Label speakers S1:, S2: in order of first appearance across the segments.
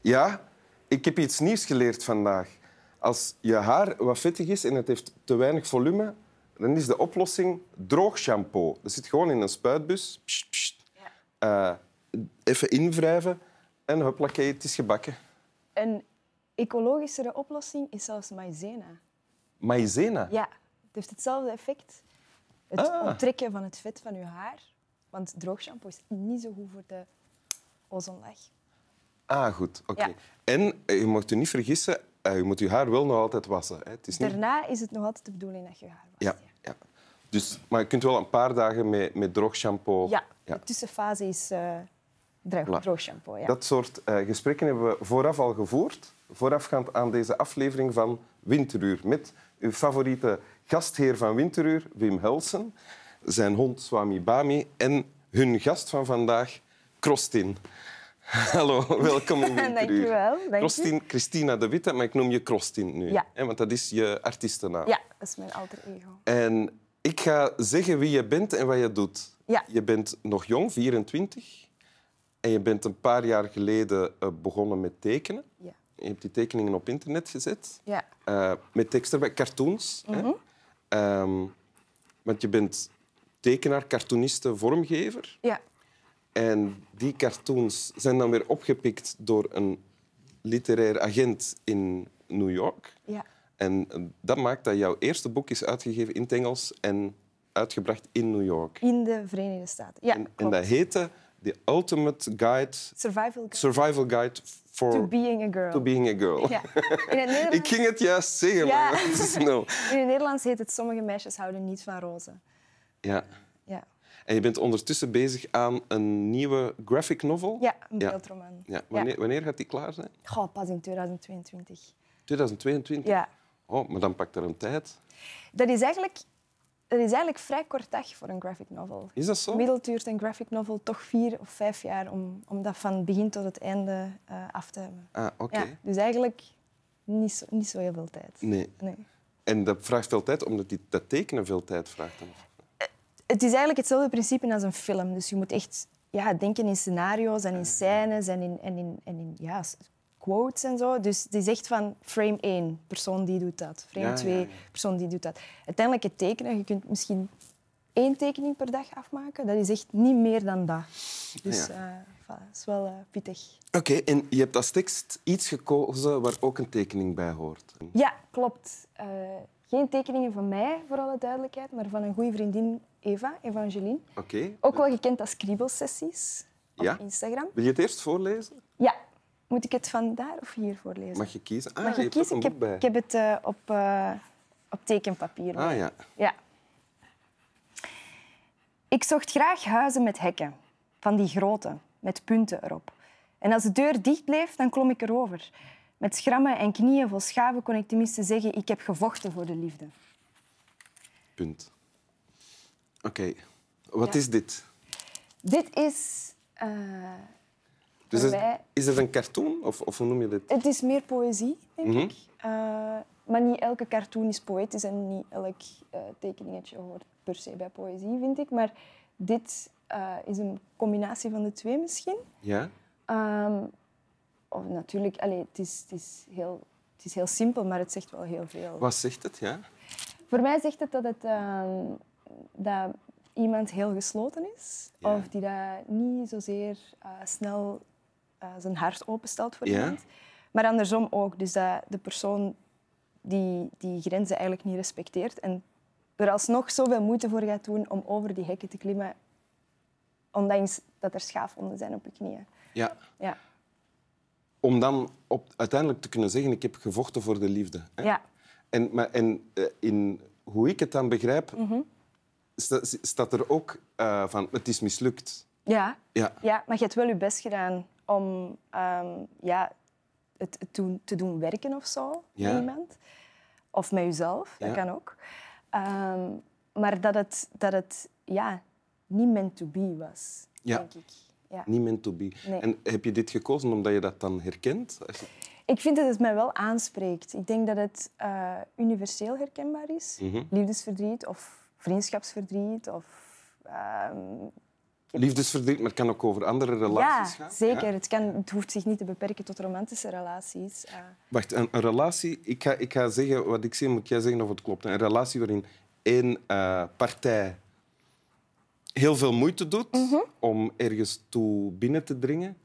S1: Ja, ik heb iets nieuws geleerd vandaag. Als je haar wat vettig is en het heeft te weinig volume, dan is de oplossing droog shampoo. Dat zit gewoon in een spuitbus. Pst, pst. Eh, even invrijven en hoppakee, het is gebakken.
S2: Een ecologischere oplossing is zelfs maïzena.
S1: Maïzena?
S2: Ja, het heeft hetzelfde effect. Het
S1: Ah.
S2: onttrekken van het vet van je haar. Want droog shampoo is niet zo goed voor de ozonlaag.
S1: Ah, goed. Oké.
S2: Ja.
S1: En eh, je mag je niet vergissen, eh, je moet je haar wel nog altijd wassen. Hè. Het is niet...
S2: Daarna is het nog altijd de bedoeling dat je je haar wast.
S1: Ja, ja. Dus, maar je kunt wel een paar dagen met, met droog shampoo.
S2: Ja, de tussenfase is eh, droog,
S1: Voilà.
S2: droog shampoo. Ja.
S1: Dat soort eh, gesprekken hebben we vooraf al gevoerd. Voorafgaand aan deze aflevering van Winteruur. Met uw favoriete gastheer van Winteruur, Wim Helsen. Zijn hond Swami Bami. En hun gast van vandaag, Krostin. Hallo, welkom in Winteruur.
S2: Dank je wel, dank je.
S1: Krostin, Christina de Witte, maar ik noem je Krostin nu.
S2: Ja.
S1: hè, Want dat is je artiestennaam.
S2: ja, dat is mijn alter ego.
S1: En ik ga zeggen wie je bent en wat je doet.
S2: Ja.
S1: Je bent nog jong, 24. En je bent een paar jaar geleden eh, begonnen met tekenen.
S2: Ja.
S1: Je hebt die tekeningen op internet gezet.
S2: Ja. Mhm.
S1: Eh, met teksten bij cartoons. hè. Ehm, want je bent tekenaar, cartooniste, vormgever.
S2: ja,
S1: En die cartoons zijn dan weer opgepikt door een literair agent in New York.
S2: ja,
S1: En eh, dat maakt dat jouw eerste boek is uitgegeven in het Engels en uitgebracht in New York.
S2: in de Verenigde Staten. Ja,
S1: en, en
S2: klopt.
S1: dat heette The Ultimate Guide,
S2: Survival guide
S1: Survival Guide for
S2: to being a girl.
S1: to Being a Girl.
S2: Ja. In, het Nederlands,
S1: Ik ging het juist zeggen,
S2: Ja.
S1: maar het is snel.
S2: in het Nederlands heet het sommige meisjes houden niet van rozen.
S1: Ja.
S2: Ja,
S1: En je bent ondertussen bezig aan een nieuwe graphic novel.
S2: ja een
S1: Ja.
S2: beeldroman.
S1: Ja. Wanneer, wanneer gaat die klaar zijn?
S2: Goh, pas in 2022.
S1: 2022?
S2: Ja.
S1: Oh, maar dan pakt er een tijd.
S2: Dat is eigenlijk, dat is eigenlijk vrij kort dag voor een graphic novel.
S1: Is dat zo?
S2: Gemiddeld duurt een graphic novel toch vier of vijf jaar om, om dat van begin tot het einde eh, af te hebben.
S1: Ah, oké.
S2: Ja, dus eigenlijk niet zo, niet zo heel veel tijd.
S1: Nee.
S2: Nee.
S1: En dat vraagt veel tijd, omdat die, dat tekenen veel tijd vraagt. Dan.
S2: Het is eigenlijk hetzelfde principe als een film. Dus je moet echt ja, denken in scenario's
S1: Ah,
S2: en in scènes en in, en in, en in ja, s- quotes en zo. Dus het is echt van frame 1, persoon die doet dat. Frame
S1: Ja, ja,
S2: 2,
S1: ja.
S2: persoon die doet dat. Uiteindelijk het tekenen, je kunt misschien één tekening per dag afmaken. Dat is echt niet meer dan dat. Dus
S1: Ja.
S2: eh voilà, dat is wel eh, pittig.
S1: Oké, en je hebt als tekst iets gekozen waar ook een tekening bij hoort.
S2: Ja, klopt. Eh, geen tekeningen van mij, voor alle duidelijkheid, maar van een goede vriendin, Eva, Evangeline.
S1: Oké.
S2: Ook wel gekend als kriebelsessies op
S1: Ja.
S2: Instagram.
S1: Wil je het eerst voorlezen?
S2: Ja. Moet ik het vandaar of hier voorlezen?
S1: Mag je kiezen? Ah,
S2: Mag
S1: je
S2: ik
S1: hebt ook
S2: kiezen?
S1: een
S2: Ik
S1: boek bij.
S2: heb, ik heb het eh, op, eh, op tekenpapier.
S1: Ah ja.
S2: Ja. Ik zocht graag huizen met hekken. Van die grote, met punten erop. En als de deur dicht bleef, dan klom ik erover. Met schrammen en knieën vol schaven kon ik tenminste zeggen ik heb gevochten voor de liefde.
S1: Punt. Oké. Wat is dit?
S2: Dit is... eh,
S1: Dus
S2: Voor
S1: is,
S2: mij-
S1: is het een cartoon of, of hoe noem je dit?
S2: het is meer poëzie, denk ik. Eh, maar niet elke cartoon is poëtisch en niet elk eh, tekeningetje hoort per se bij poëzie, vind ik. Maar dit eh, is een combinatie van de twee misschien.
S1: Ja.
S2: Ehm, of natuurlijk, allee, het, is, het, is heel, het is heel simpel, maar het zegt wel heel veel.
S1: Wat zegt het? Ja.
S2: Voor mij zegt het dat, het, ehm, dat iemand heel gesloten is.
S1: Ja.
S2: Of die dat niet zozeer eh, snel eh, zijn hart openstelt voor
S1: Ja.
S2: iemand. Maar andersom ook. Dus dat de persoon die die grenzen eigenlijk niet respecteert en er alsnog zoveel moeite voor gaat doen om over die hekken te klimmen, ondanks dat er schaafwonden zijn op je knieën.
S1: ja.
S2: Ja.
S1: Om dan op, uiteindelijk te kunnen zeggen, ik heb gevochten voor de liefde. hè?
S2: Ja.
S1: En, maar, en eh, in hoe ik het dan begrijp,
S2: Mhm.
S1: sta- staat er ook eh, van, het is mislukt.
S2: Ja.
S1: Ja.
S2: Ja, maar je hebt wel je best gedaan om ehm, ja, het het doen- te doen werken of zo
S1: Ja.
S2: met iemand. Of met jezelf,
S1: Ja.
S2: dat kan ook. Ehm, maar dat het, dat het ja, niet meant to be was,
S1: Ja.
S2: denk ik. Ja.
S1: Niet meant to be.
S2: Nee.
S1: En heb je dit gekozen omdat je dat dan herkent? Als je-
S2: Ik vind dat het mij wel aanspreekt. Ik denk dat het eh, universeel herkenbaar
S1: Mhm.
S2: is. Liefdesverdriet of vriendschapsverdriet of ehm,
S1: Liefdesverdriet, maar het kan ook over andere relaties
S2: ja,
S1: gaan.
S2: zeker. Het, kan, het hoeft zich niet te beperken tot romantische relaties. Eh,
S1: Wacht, een, een relatie... Ik ga, ik ga zeggen wat ik zie, moet jij zeggen of het klopt. Een relatie waarin één eh, partij heel veel moeite doet
S2: Mhm.
S1: om ergens toe binnen te dringen.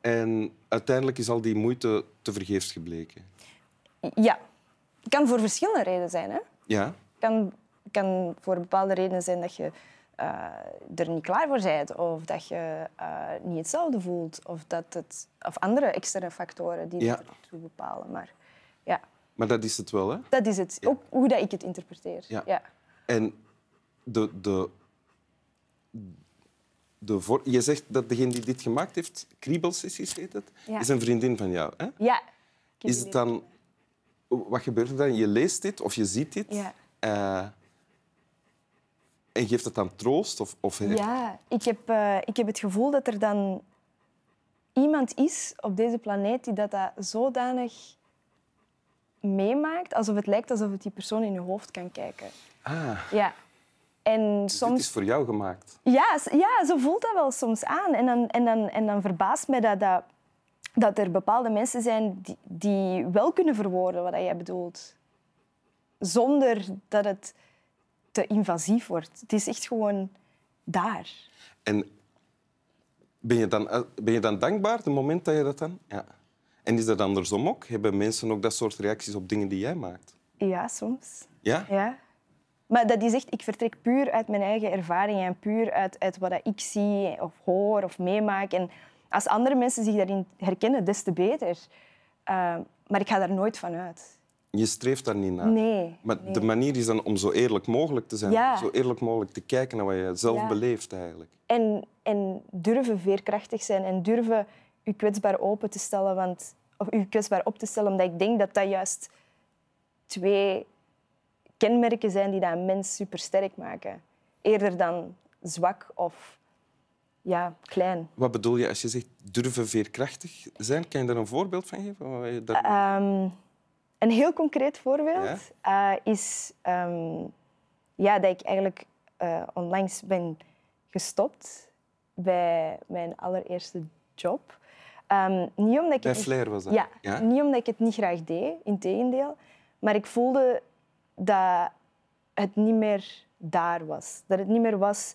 S1: En uiteindelijk is al die moeite te vergeefs gebleken.
S2: ja. Het kan voor verschillende redenen zijn. Hè?
S1: Ja?
S2: kan, kan voor bepaalde redenen zijn dat je eh, er niet klaar voor bent, of dat je eh, niet hetzelfde voelt, of, dat het, of andere externe factoren die
S1: Ja.
S2: dat ertoe bepalen. Maar ja,
S1: Maar dat is het wel, hè?
S2: dat is het. Ook hoe dat ik het interpreteer.
S1: Ja. En de, de, de voor- je zegt dat degene die dit gemaakt heeft, Kriebelsessies heet het,
S2: Ja.
S1: is een vriendin van jou. Hè?
S2: Ja. Ik heb
S1: Is het dan... Wat gebeurt er dan? Je leest dit of je ziet dit
S2: Ja.
S1: eh, en geeft het dan troost? Of, of
S2: Ja, ik heb, eh, ik heb het gevoel dat er dan iemand is op deze planeet die dat, dat zodanig meemaakt, alsof het lijkt alsof het die persoon in je hoofd kan kijken.
S1: Ah,
S2: Ja. En
S1: Dus dit
S2: soms
S1: is voor jou gemaakt.
S2: Ja, s- ja, zo voelt dat wel soms aan. En dan, en dan, en dan verbaast mij dat, dat, dat er bepaalde mensen zijn die, die wel kunnen verwoorden wat dat jij bedoelt. Zonder dat het te invasief wordt. Het is echt gewoon daar.
S1: En ben je dan, eh, ben je dan dankbaar, het moment dat je dat dan... Ja. En is dat andersom ook? Hebben mensen ook dat soort reacties op dingen die jij maakt?
S2: Ja, soms.
S1: Ja?
S2: Ja. Maar dat is echt, ik vertrek puur uit mijn eigen ervaring en puur uit, uit wat dat ik zie of hoor of meemaak. En als andere mensen zich daarin herkennen, des te beter. Eh, maar ik ga daar nooit van uit.
S1: Je streeft daar niet naar.
S2: Nee.
S1: Maar de manier is dan om zo eerlijk mogelijk te zijn.
S2: Ja.
S1: Zo eerlijk mogelijk te kijken naar wat je zelf
S2: Ja.
S1: beleeft eigenlijk.
S2: En, en durven veerkrachtig zijn en durven je kwetsbaar open te stellen, want, of je kwetsbaar op te stellen, omdat ik denk dat dat juist twee kenmerken zijn die dat een mens supersterk maken. Eerder dan zwak of ja, klein.
S1: Wat bedoel je als je zegt durven veerkrachtig zijn? Kan je daar een voorbeeld van geven? Wat je daar-
S2: Ehm, een heel concreet voorbeeld eh, is ehm, ja, dat ik eigenlijk eh, onlangs ben gestopt bij mijn allereerste job. Ehm, niet omdat ik
S1: Bij
S2: het niet-
S1: Flair was dat.
S2: Ja, Mm.
S1: Ja?
S2: niet omdat ik het niet graag deed, integendeel. Maar ik voelde dat het niet meer daar was. Dat het niet meer was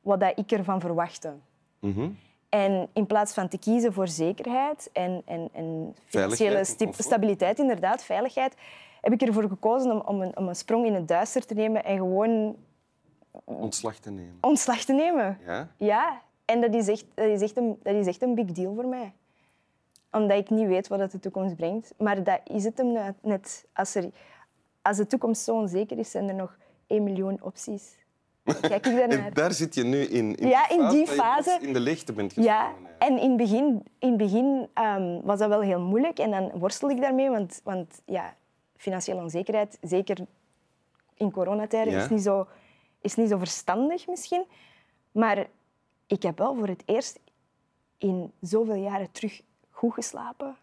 S2: wat dat ik ervan verwachtte.
S1: Mhm.
S2: En in plaats van te kiezen voor zekerheid en, en, en
S1: Veiligheid
S2: financiële
S1: en
S2: sti-
S1: comfort.
S2: stabiliteit, inderdaad, veiligheid, heb ik ervoor gekozen om, om, een, om een sprong in het duister te nemen en gewoon
S1: Ontslag te nemen.
S2: ontslag te nemen.
S1: Ja?
S2: Ja, en dat is, echt, dat, is echt een, dat is echt een big deal voor mij. Omdat ik niet weet wat het de toekomst brengt. Maar dat is het hem net- net. Als, er, als de toekomst zo onzeker is, zijn er nog 1 miljoen opties. Kijk ik daarnaar.
S1: En daar zit je nu in. in
S2: Ja, in die
S1: dat je plots
S2: fase-
S1: In de leegte bent
S2: Ja,
S1: gesprongen. eigenlijk.
S2: en in het begin, in het begin ehm, was dat wel heel moeilijk en dan worstelde ik daarmee, want, want ja, financiële onzekerheid, zeker in coronatijden,
S1: Ja.
S2: is, niet zo, is niet zo verstandig misschien. Maar ik heb wel voor het eerst in zoveel jaren terug goed geslapen.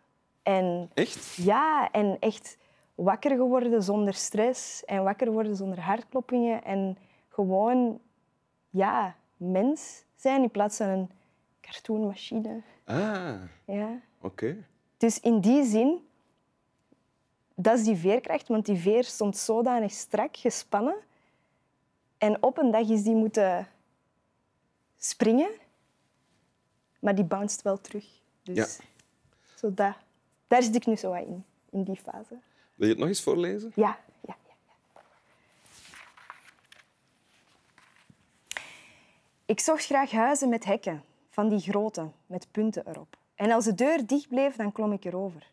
S2: En
S1: Echt?
S2: ja, en echt wakker geworden zonder stress en wakker worden zonder hartkloppingen en gewoon ja, mens zijn in plaats van een cartoonmachine.
S1: Ah,
S2: Ja.
S1: oké.
S2: Dus in die zin, dat is die veerkracht, want die veer stond zodanig strak gespannen en op een dag is die moeten springen, maar die bounced wel terug. Dus
S1: Ja.
S2: zo dat, daar zit ik nu zo wat in, in die fase.
S1: Wil je het nog eens voorlezen?
S2: Ja, ja, ja. ja. Ik zocht graag huizen met hekken, van die grote, met punten erop. En als de deur dicht bleef, dan klom ik erover.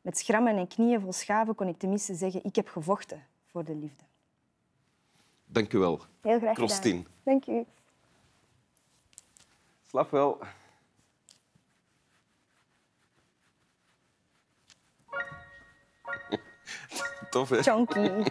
S2: Met schrammen en knieën vol schaven kon ik tenminste zeggen: ik heb gevochten voor de liefde.
S1: Dank u wel.
S2: Heel graag gedaan.
S1: Krostien.
S2: Dank u.
S1: Slap wel. Tof, hè?
S2: Chonky.